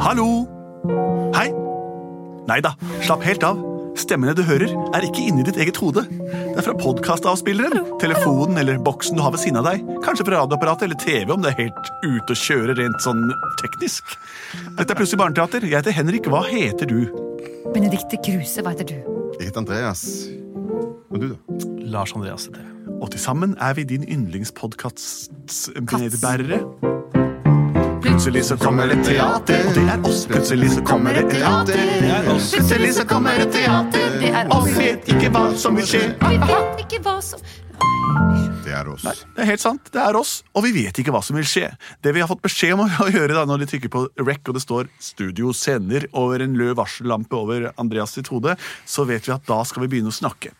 Hallo! Hei! Nei da, slapp helt av. Stemmene du hører, er ikke inni ditt eget hode. Det er fra podkastavspilleren, telefonen eller boksen du har ved siden av deg. Kanskje fra radioapparatet eller TV, om det er helt ute å kjøre rent sånn teknisk. Dette er Plutselig barneteater. Jeg heter Henrik. Hva heter du? Benedicte Kruse, hva heter du? Jeg heter Andreas. Og du, da? Lars Andreas heter jeg. Og til sammen er vi din yndlingspodkast-bærere. Plutselig så kommer det teater. Det er oss. Plutselig så kommer det teater. Det er oss. Plutselig så kommer det teater. Det er Og vi vet ikke hva som vil skje. Vi vet ikke hva som Det er oss. Det er helt sant. Det er oss, og vi vet ikke hva som vil skje. Det vi har fått beskjed om å gjøre da, når de trykker på rec og det står 'Studio sender' over en lød varsellampe over Andreas sitt hode, så vet vi at da skal vi begynne å snakke.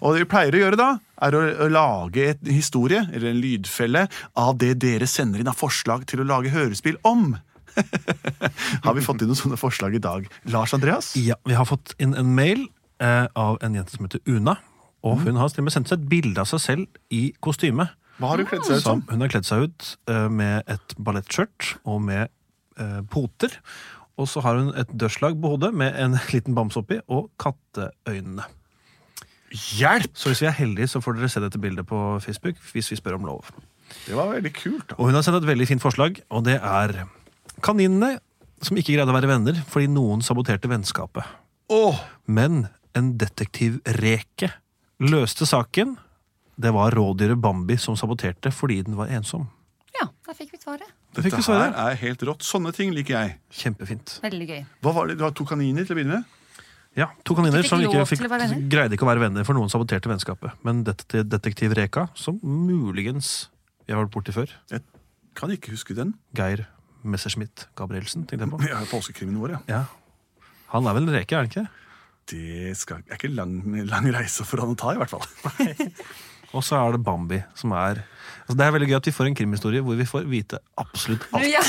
Og det vi pleier å gjøre da, er å, å lage et- en historie, eller en lydfelle, av det dere sender inn av forslag til å lage hørespill om. har vi fått inn noen sånne forslag i dag? Lars Andreas? Ja, vi har fått inn en mail eh, av en jente som heter Una. Og hun har til og med sendt oss et bilde av seg selv i kostyme. Hva har du kledd seg ut som? Som hun har kledd seg ut eh, med et ballettskjørt og med eh, poter. Og så har hun et dørslag på hodet med en liten bamse oppi og katteøynene. Hjelp! Så hvis vi er heldige, så får dere se dette bildet på Facebook hvis vi spør om lov. Det var veldig kult. da. Og hun har sendt et veldig fint forslag, og det er kaninene som ikke greide å være venner fordi noen saboterte vennskapet. Åh, Men en detektivreke løste saken. Det var rådyret Bambi som saboterte fordi den var ensom. Ja, der fikk vi svaret. Det dette fikk vi her svaret. er helt rått. Sånne ting liker jeg. Kjempefint. Veldig gøy. Hva var det? Du har to kaniner til å begynne med? Ja, To kaniner Fikk som lov ikke til fikk, å være venner. greide ikke å være venner, for noen saboterte vennskapet. Men dette til detektiv Reka, som muligens vi har vært borti før, Jeg kan ikke huske den. Geir Messerschmidt Gabrielsen, tenkte jeg på. Jeg har påskekrimmen vår, ja. Ja. Han er vel en reke, er han ikke? det? Det skal, er ikke lang, lang reise for han å ta, i hvert fall. Og så er det Bambi, som er altså Det er veldig gøy at vi får en krimhistorie hvor vi får vite absolutt alt. Ja.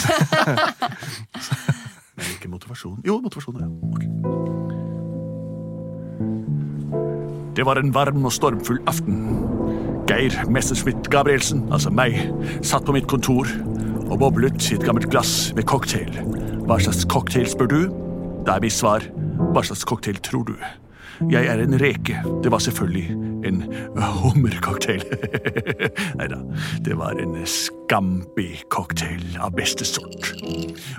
Men ikke motivasjon. Jo, motivasjon, ja. Ok. Det var en varm og stormfull aften. Geir Messerschmidt Gabrielsen, altså meg, satt på mitt kontor og boblet i et gammelt glass med cocktail. Hva slags cocktail spør du? Da er mitt svar hva slags cocktail tror du? Jeg er en reke. Det var selvfølgelig en hummercocktail. Nei da, det var en scampi-cocktail av beste sort.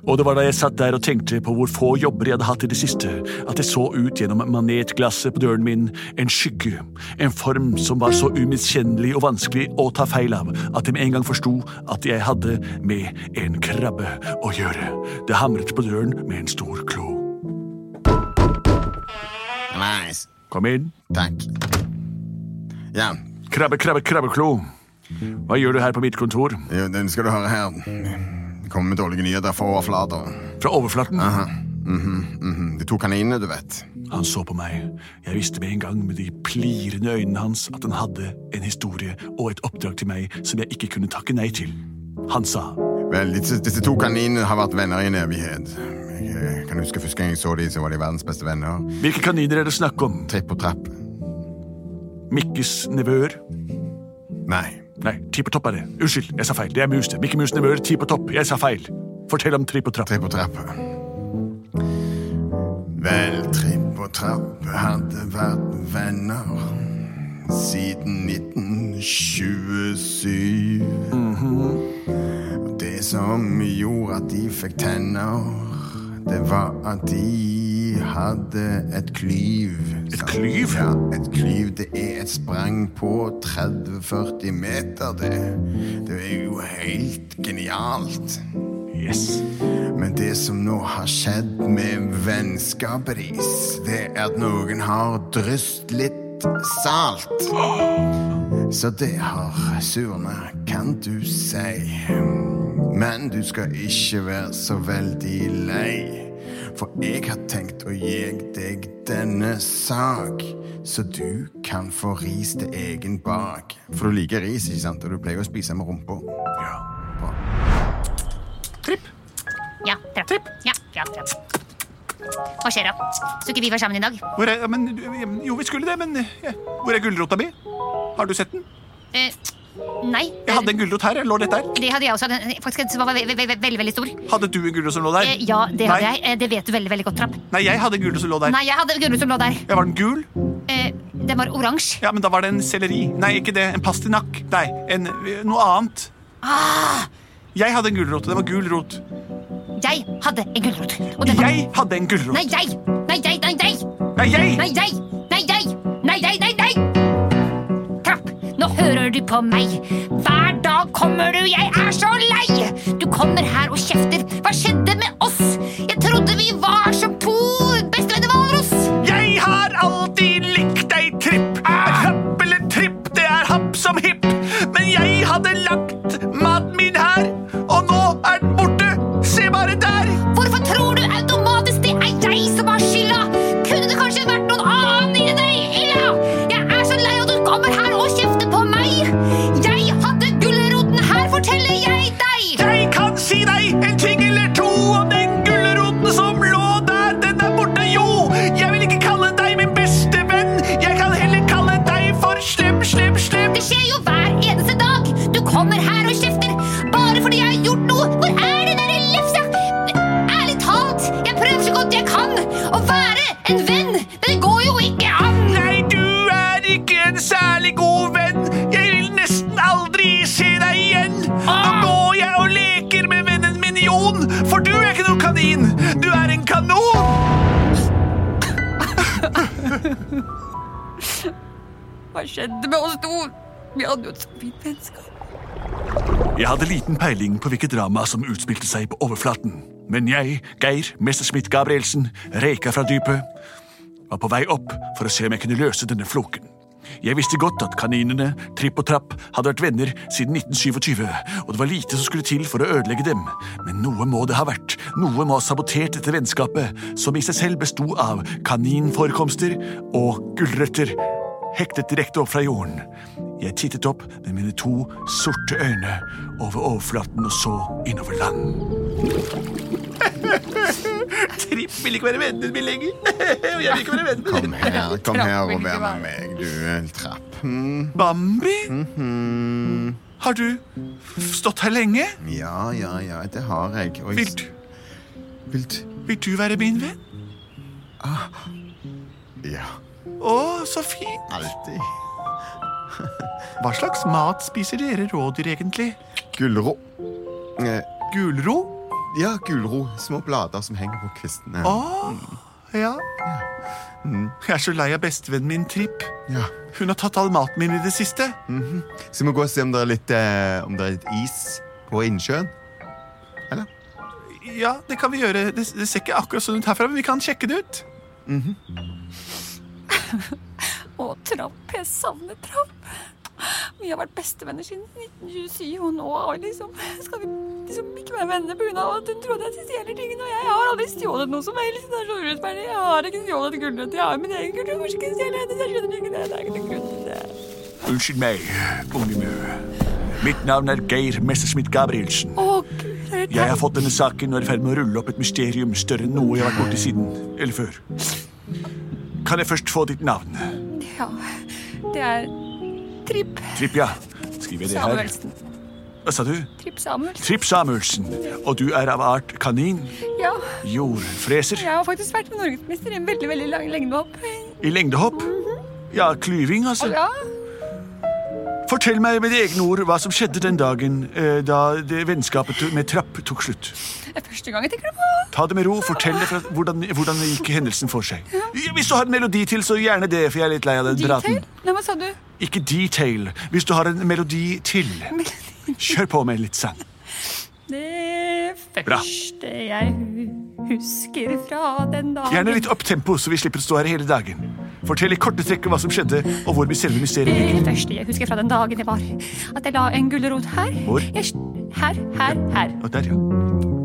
Og det var da jeg satt der og tenkte på hvor få jobber jeg hadde hatt i det siste, at jeg så ut gjennom manetglasset på døren min, en skygge, en form som var så umiskjennelig og vanskelig å ta feil av at jeg med en gang forsto at jeg hadde med en krabbe å gjøre. Det hamret på døren med en stor klo. Nice. Kom inn. Takk. Ja, Krabbe, krabbe, krabbeklo. Hva gjør du her på mitt kontor? jo, den skal du høre her. Kommer med dårlige nyheter fra overflater. Fra overflaten? Mhm, mhm. De to kaninene, du vet. Han så på meg. Jeg visste med en gang med de plirende øynene hans at han hadde en historie og et oppdrag til meg som jeg ikke kunne takke nei til. Han sa Vel, disse, disse to kaninene har vært venner i en evighet. Jeg eh, kan huske Første gang jeg så dem, så var de verdens beste venner. Hvilke kaniner er det snakk om? Tripp og trapp. Mikkes nevøer? Nei. Nei, Tippetopp er det. Unnskyld, jeg sa feil. Det er mus, det. Mikke Mus' nevøer, Tippetopp. Jeg sa feil. Fortell om Tripp og Trapp. Tripp og trapp. Vel, Tripp og Trapp hadde vært venner siden 1927. Mhm. Og Det som gjorde at de fikk tenner, det var at de hadde et klyv. Et sant? klyv? Ja, et klyv. Det er et sprang på 30-40 meter, det. Det er jo helt genialt. Yes. Men det som nå har skjedd med vennskapet deres, det er at noen har drysst litt salt. Så det har surna, kan du si. Men du skal ikke være så veldig lei. For jeg har tenkt å gi deg denne sak, så du kan få ris til egen bak. For du liker ris, ikke sant? Og du pleier å spise med rumpa. Ja. Ja, trapp. Ja, ja, trapp. Hva skjer da? Skulle ikke vi være sammen i dag? Hvor er, men, jo, vi skulle det, men eh, Hvor er gulrota mi? Har du sett den? Eh, Nei. Jeg hadde en gulrot her. jeg Lå litt der. Det hadde jeg også. Den- Faktisk, den var ve- ve- ve- veldig, veldig, stor. Hadde du en gulrot som lå der? Eh, Ja, det hadde Nei. jeg. Eh, Det vet du veldig, veldig godt, Trapp. Nei, jeg hadde en gulrot som lå der. Nei, jeg hadde gulrot som lå der. Jeg var den gul? Eh, Den var oransje. Ja, men da var det en selleri. Nei, ikke det. En pastinakk. Nei, en, noe annet. Jeg hadde en gulrot. og Det var gul rot. Jeg hadde en gulrot. Og den var Jeg hadde en gulrot. Nei, jeg! Nei, jeg, nei, jeg! Nei, jeg! Nei, jeg! Nei, jeg! Nei, jeg, nei, nei! Trapp, nå hører du på meg. Hver dag kommer du, jeg er så lei! Du kommer her og kjefter. Hva skjedde med oss? Jeg trodde vi var som to bestevenner hvalross. Jeg har alltid likt deg, Tripp. Er happ eller tripp, det er happ som hipp. Men jeg hadde lagt maten min her, og nå er den borte. Se bare der. Hvorfor tror du automatisk det er jeg som har skylda? Kunne det kanskje vært noen annen inni deg, Illa? Jeg er så lei at du kommer her og kjefter på meg. Jeg hadde gulroten her, forteller jeg deg. Jeg kan si deg en ting eller to om den gulroten som lå der. Den er borte, jo. Jeg vil ikke kalle deg min beste venn. Jeg kan heller kalle deg for slem, slem, slem. Det skjer jo hver eneste dag! Du kommer her og kjefter bare fordi jeg har gjort noe! Hvor er den derre lefsa? Ærlig talt, jeg prøver så godt jeg kan å være en venn, men det går jo ikke an! Nei, du er ikke en særlig god venn. Jeg vil nesten aldri se deg igjen. Nå Ah! går jeg og leker med vennen min Jon, for du er ikke noen kanin. Du er en kanon. Hva skjedde med oss to? Vi hadde jo et så fint vennskap. Jeg hadde liten peiling på hvilket drama som utspilte seg på overflaten. Men jeg, Geir Messerschmidt Gabrielsen, reka fra dypet, var på vei opp for å se om jeg kunne løse denne floken. Jeg visste godt at kaninene, Tripp og Trapp, hadde vært venner siden 1927, og det var lite som skulle til for å ødelegge dem, men noe må det ha vært, noe må ha sabotert dette vennskapet, som i seg selv besto av kaninforekomster og gulrøtter, hektet direkte opp fra jorden. Jeg tittet opp med mine to sorte øyne over overflaten og så innover land. Tripp vil ikke være vennen min lenger, og jeg vil ikke være vennen min. Kom her, kom her og vær med meg, du eh, trapp. Mm, Bambi? Har du f- stått her lenge? Ja, ja, ja, det har jeg. Og Vil, jeg du- Vilt. vil du være min venn? Ja, Å, så fint. alltid. Hva slags mat spiser dere rådyr egentlig? Gulrot. Eh, Gulro? Ja, gulrot. Små blader som henger på kvistene. Å, ja. Mm, Jeg er så lei av bestevennen min Tripp. Ja. Hun har tatt all maten min i det siste. Skal vi gå og se om det er litt, eh, om det er litt is på innsjøen? Eller? Ja, det kan vi gjøre. Det, det ser ikke akkurat sånn ut herfra, men vi kan sjekke det ut. Å, Trapp. Jeg savner Trapp. Vi har vært bestevenner siden 1927, og nå har vi liksom, skal vi liksom ikke være venner pga. at hun trodde jeg stjeler tingene. Og jeg har aldri stjålet noe som helst. Det er så urettferdig. Jeg har ikke stjålet gulrøtter. Jeg har min egen gulrot. Hvorfor skal jeg stjele hennes? Jeg skjønner ikke det. Det er ikke noen grunn til det. Unnskyld meg, unge mu. Mitt navn er Geir Messerschmidt Gabrielsen. Å, gud. er det Jeg har fått denne saken og er i ferd med å rulle opp et mysterium større enn noe jeg har vært borti siden. Eller før. Kan jeg først få ditt navn? Ja, det er Tripp Tripp, ja. Skriver jeg det her? Samuelsen. Hva sa du? Tripp Samuelsen. Tripp Samuelsen. Og du er av art kanin? Ja, Jordfreser? jeg har faktisk vært norgesmester i en veldig veldig lang lengdehopp. I lengdehopp? Ja, klyving, altså. Ja, Fortell meg med egne ord hva som skjedde den dagen eh, da det vennskapet med Trapp tok slutt. det er første gang jeg tenker det på. Ta det med ro, fortell det fra, hvordan, hvordan gikk hendelsen for seg. Ja, Hvis du har en melodi til, så gjerne det, for jeg er litt lei av den praten. Detail? Nei, hva sa du? Ikke detail. Hvis du har en melodi til, kjør på med litt sang. Det første jeg hu- husker fra den dagen Gjerne litt opptempo, så vi slipper å stå her hele dagen. Fortell i korte trekk hva som skjedde, og hvor vi selve mysteriet ligger. Det første jeg husker fra den dagen det var at jeg la en gulrot her. Hvor? Jeg, her, her, her. Og der, ja.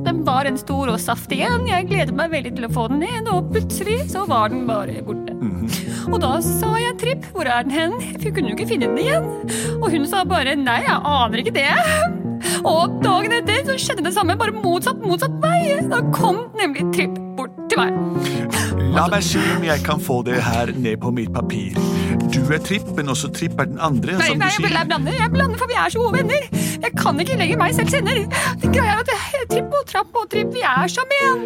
Den var en stor og saftig en. Jeg gledet meg veldig til å få den ned, og plutselig så var den bare borte. Og da sa jeg Tripp, hvor er den hen? Jeg kunne jo ikke finne den igjen. Og hun sa bare nei, jeg aner ikke det. Og dagen etter så skjedde det samme, bare motsatt, motsatt vei. Da kom nemlig Tripp bort til meg. La meg se om jeg kan få det her ned på mitt papir. Du er trippen, og så tripp er den andre, Nei, som du nei, jeg, jeg sier. blander, jeg blander, for vi er så gode venner. Jeg kan ikke legge meg selv sender. Det greia er at jeg- Tripp og trapp og tripp, vi er som en.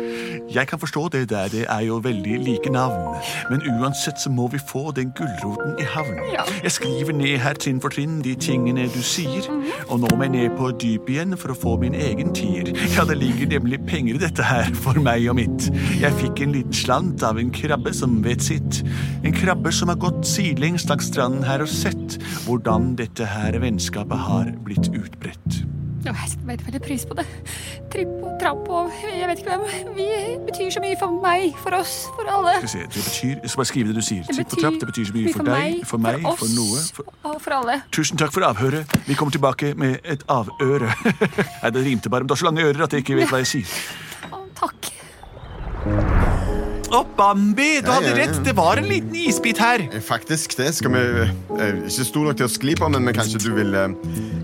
Jeg kan forstå det der, det er jo veldig like navn. Men uansett så må vi få den gulroten i havn. Ja. Jeg skriver ned her trinn for trinn de tingene du sier. Og nå må jeg ned på dypet igjen for å få min egen tier. Ja, det ligger nemlig penger i dette her, for meg og mitt. Jeg fikk en liten slant av en krabbe som vet sitt. En krabbe som har gått sidelengs langs stranden her og sett hvordan dette her vennskapet har blitt utbredt. Og jeg setter veldig, veldig pris på det. Tripp og trapp og jeg vet ikke hvem. Vi betyr så mye for meg, for oss, for alle. Skal vi se, det betyr, jeg skal bare skrive det du sier. Tripp og betyr trapp, det betyr så mye for deg, for meg, for oss for noe. For... og for alle. Tusen takk for avhøret. Vi kommer tilbake med et avøre. Nei, det rimte bare, men du har så lange ører at jeg ikke vet hva jeg sier. Å, takk. Å, Bambi, du Ja, hadde ja, ja. rett. Det var en liten isbit her. Eh, Faktisk, det skal vi eh, Ikke stor nok til å skli på, men, men kanskje du vil eh,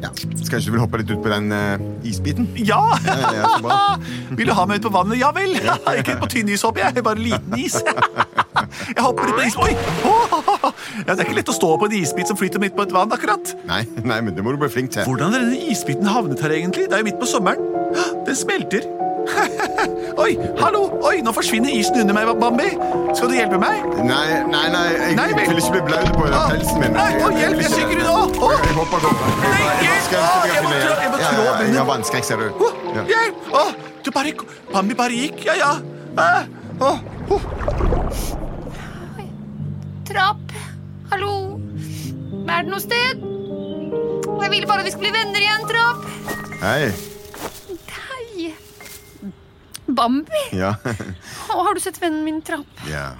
ja, Kanskje du vil hoppe litt ut på den eh, isbiten? Ja! Ja, ja, så bra. Vil du ha meg ut på vannet? Ja vel. Ikke på tynn is, håper jeg. Bare liten is. Jeg hopper ut på is... Oi! Å, Ja, det er ikke lett å stå på en isbit som flyter midt på et vann, akkurat. Nei, nei, men det må du bli flink til. Hvordan er denne isbiten havnet her egentlig? Det er jo midt på sommeren. Hå, Den smelter. Oi, hallo! Oi, nå forsvinner isen under meg, Bambi. Skal du hjelpe meg? Nei, nei, nei jeg, Nei, men- jeg vil ikke bli blaut på Ah, pelsen min. nei, å, vil hjelp, jeg ikke det. synker i nå. Å. Jeg hopper over. Jeg- Nei, jeg- hjelp. skal- skal- Ah, jeg skal- må trå- jeg må Ja, trå ja, ja, munnen. Jeg har vannskrekk, ser du. Å, Ja. Hjelp! Å, du bare Bambi bare gikk. Ja, ja. Eh, å, å. Trapp, hallo. Er det noe sted? Jeg ville bare vi skulle bli venner igjen, Trapp. Hei. Hei. Bambi? Ja. Å, har du sett vennen min Trapp? ja.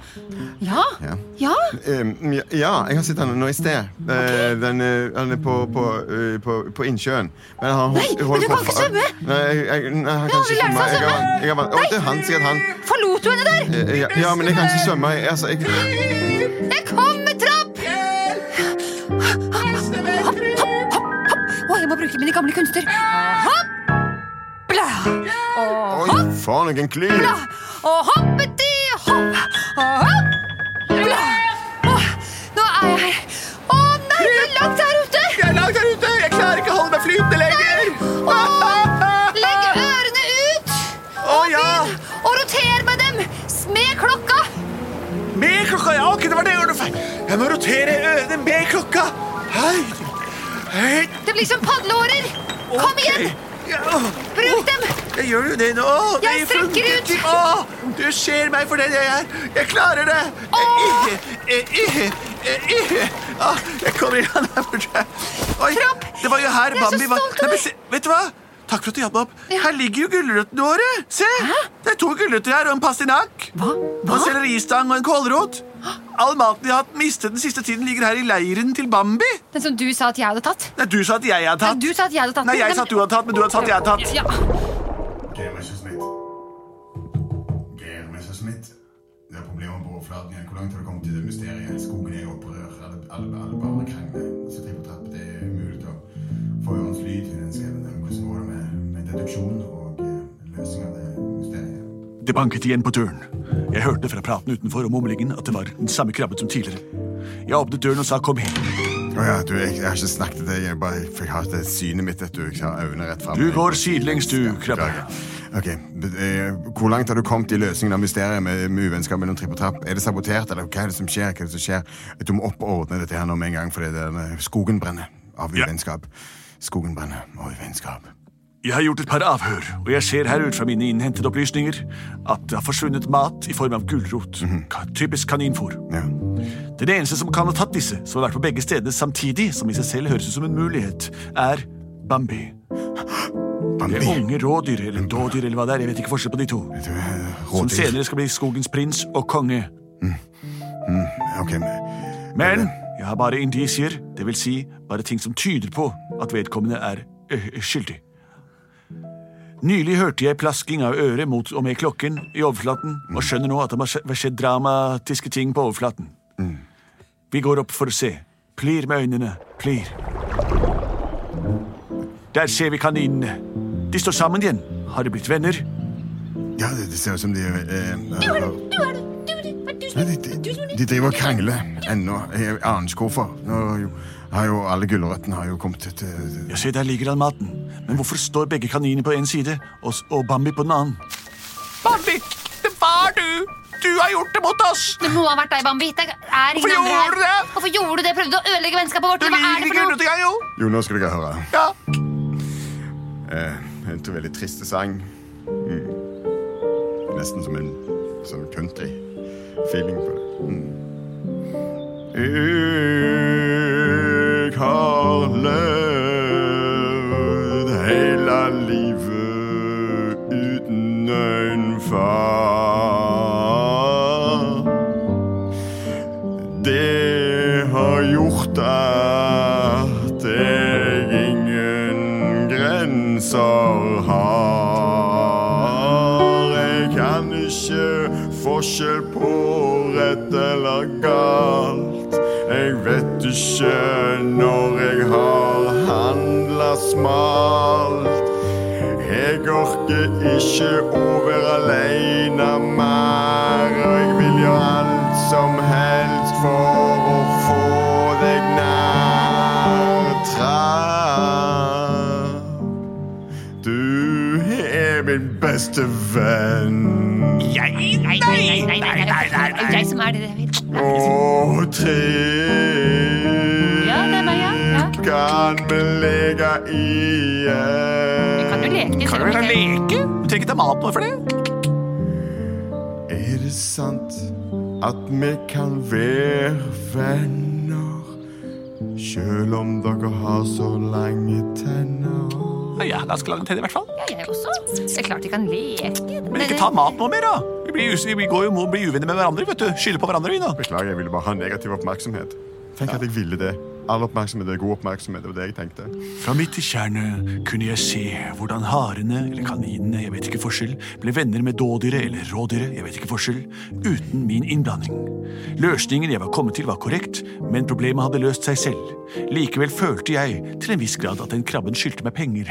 Ja. ja. Ja. Um, ja, ja, jeg har sett han nå i sted. Eh, den, eh, han er på, på, eh, på, på innsjøen. Men han Nei, holdt- men holdt du på kan ikke fa- svømme! Nei, jeg, jeg, nei, han har kan ikke vi lært svømme. oss å Jeg har, svømme! jeg har, å, Nei! det er han, sikkert han. Forlot du henne der? Eh, Ja, ja, men jeg kan ikke svømme. Jeg, altså, jeg, Jeg kommer, Trapp! Hopp, hopp, hopp, hopp. Å, jeg må bruke mine gamle kunster. Hopp! Blæ! Og oi, for noen klyv! blæ! Og hoppeti hopp! Og hopp! Blæ! Å, nå er jeg her. Å nei, det er langt der ute! Jeg er langt der ute! Jeg klarer ikke å holde meg flytende lenger! Legg ørene ut! Å ja! Og roter med dem! Smed klokka! Med klokka, ja. Ok, det var det jeg gjorde feil. Jeg må rotere eh, ørene med klokka. Hei. Hei. Det blir som padleårer! Kom igjen! Ok. Ja. Bruk dem! Jeg gjør jo det nå. Det Jeg strekker funker ut. ikke. Å, du ser meg for den jeg er. Jeg klarer det. Åh. Jeg, jeg, jeg, jeg, jeg. Å, jeg kommer i land her borte. Oi, Kropp. det var jo her Jeg er så Bambi var. stolt av Nei, men deg. se- vet du hva? Takk for at du hjalp meg opp. Her ligger jo gulrøttene våre. Se, det er to gulrøtter her og en pastinakk. Hva? Og en selleristang og en kålrot. All maten jeg har hatt mistet den siste tiden, ligger her i leiren til Bambi. Den som du sa at jeg hadde tatt? Nei, du sa at jeg hadde Nei, tatt. du sa at jeg hadde tatt Nei, jeg sa at du hadde tatt, men du hadde tatt, jeg hadde tatt. Ja. Geir Messerschmidt. Geir Messerschmitt. Det er problemer på overflaten igjen. Hvor langt har du kommet i det mysteriet? Skogen er i opprør. Alle, alle, alle barna krangler. Så tripp og trapp, det er umulig å få ørens lyd til den skauen. Hvordan går det med, med deduksjon og eh, løsning av det mysteriet? Det banket igjen på døren. Jeg hørte fra praten utenfor om mumlingen at det var den samme krabben som tidligere. Jeg åpnet døren og sa kom inn. Å ja, du, jeg, jeg har ikke snakket til deg. Jeg bare for jeg har det synet mitt, vet du. Jeg har øynene rett frem. Du går sidelengs, du, krabbe. Beklager. Ok, b- eh, Hvor langt har du kommet i løsningen av mysteriet med, med uvennskap mellom tripp og trapp? Er det sabotert, eller hva er det som skjer? Hva er det som skjer? Du må opp og ordne dette her nå med en gang, for det er den- skogen brenner av Ja. uvennskap. Skogen brenner av uvennskap. Jeg har gjort et par avhør, og jeg ser her ut fra mine innhentede opplysninger at det har forsvunnet mat i form av gulrot. Mhm. Ka- Typisk kaninfôr. Ja. Den eneste som kan ha tatt disse, som har vært på begge stedene samtidig, som i seg selv høres ut som en mulighet, er Bambi. Det Bambi. unge rådyr, eller dådyr, eller hva det er, jeg vet ikke forskjell på de to. Du er Som rådyr. senere skal bli skogens prins og konge. Ok, men- Men jeg har bare indisier, det vil si bare ting som tyder på at vedkommende er ø, ø, skyldig. Nylig hørte jeg plasking av øret mot og med klokken i overflaten, og skjønner nå at det har skje- skjedd dramatiske ting på overflaten. Vi går opp for å se. Plir med øynene. Plir. Der ser vi kaninene. De står sammen igjen. Har de blitt venner? Ja, det, det ser ut som de eh, Du er det! Du er det! Nei, de, de, de driver og krangler ennå. Jeg aner ikke hvorfor. Nå har jo, har jo alle gulrøttene har jo kommet til Jeg ser der ligger han maten. Men hvorfor står begge kaniner på en side og, s- og Bambi på den annen? Bambi, det var du! Du har gjort det mot oss! Det må ha vært deg, Bambi. Det er ingen Hvorfor andre her. gjorde du det? Hvorfor gjorde du det? Prøvde å ødelegge vennskapet vårt? Hva er det for noe? jo! Jo, nå skal dere høre. Ja. Eh, en til veldig triste sang. Mm. Nesten som en sånn country-feeling på det. Mm. Jeg har levd hele livet uten en far. Det har gjort at jeg ingen grenser har. Jeg kan ikke forskjell på rett eller galt. Jeg vet ikke når jeg har handla smalt. Jeg orker ikke å være aleine mer. Og jeg vil gjøre alt som helst for å få deg nær. Trapp, du er min beste venn. Nei, nei, nei, nei, nei, nei, nei, Det er jeg som er det. Og trikk Ja, det er meg, ja. Ja. kan vi leke igjen. Kan du leke? til selv om ikke- leke? Du trenger ikke ta mat nå for det. Er det sant at vi kan være venner Selv om dere har så lange tenner Ja, ganske langt til i hvert fall. Ja, jeg også. Det er klart vi kan leke. Men ikke ta mat nå mer, da. Vi, blir us vi går jo må bli uvenner med hverandre. vet du. Skylder på hverandre, vi nå. Beklager, jeg ville bare ha negativ oppmerksomhet Tenk at jeg ville det All oppmerksomhet er god oppmerksomhet, det var det jeg tenkte Fra mitt tjerne kunne jeg se hvordan harene, eller kaninene, jeg vet ikke forskjell, ble venner med dådyret eller rådyret, jeg vet ikke forskjell, uten min innblanding. Løsningen jeg var kommet til var korrekt, men problemet hadde løst seg selv. Likevel følte jeg til en viss grad at den krabben skyldte meg penger.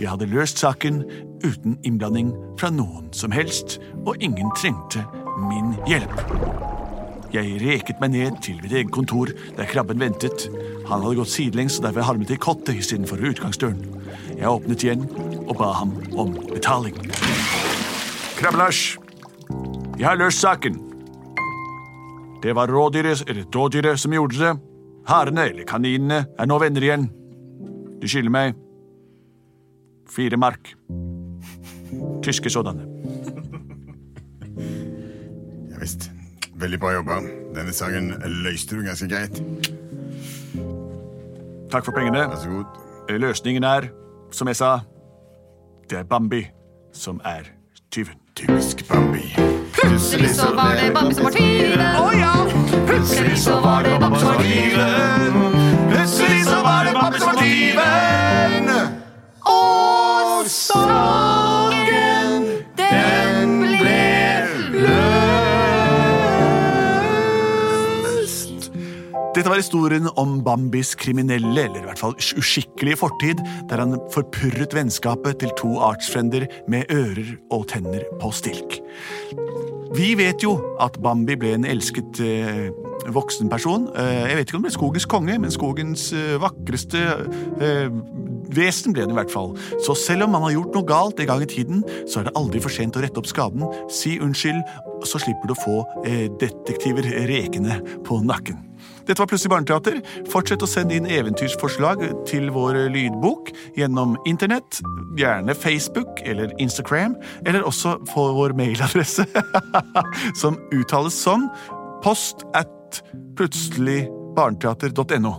Jeg hadde løst saken uten innblanding fra noen som helst, og ingen trengte min hjelp. Jeg reket meg ned til mitt eget kontor, der krabben ventet. Han hadde gått sidelengs, og derfor harmet i kottet istedenfor utgangsdøren. Jeg åpnet igjen og ba ham om betaling. Krabbe-Lars, jeg har løst saken. Det var rådyret eller dådyret som gjorde det. Harene eller kaninene er nå venner igjen. Du skylder meg fire mark. Tyske sådanne. Ja visst, veldig bra jobba Denne saken løste du ganske greit Takk for pengene. Vær så god Løsningen er, som jeg sa, det er Bambi som er tyven. Typisk Bambi Plutselig Så var det Bambi som var tyven. Å ja! Plutselig så var det Bambi som var tyven. Plutselig så var det Bambi som var tyven. Og saken, den ble løst. Dette var historien om Bambis kriminelle, eller i hvert fall usk- uskikkelige fortid, der han forpurret vennskapet til to artsfrender med ører og tenner på stilk. Vi vet jo at Bambi ble en elsket eh, voksen person. Eh, jeg vet ikke om det ble skogens konge, men skogens eh, vakreste eh, vesen ble den i hvert fall. Så selv om man har gjort noe galt en gang i tiden, så er det aldri for sent å rette opp skaden, si unnskyld, så slipper du å få eh, detektiver rekende på nakken. Dette var Plutselig barneteater. Fortsett å sende inn eventyrsforslag til vår lydbok gjennom internett, gjerne Facebook eller Instagram, eller også på vår mailadresse, som uttales som post at plutseligbarneteater.no.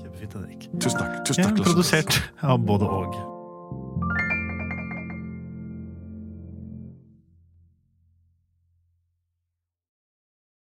Kjempefint, Henrik. Tusen takk. tusen Ja, takk, Lasse. produsert av både og.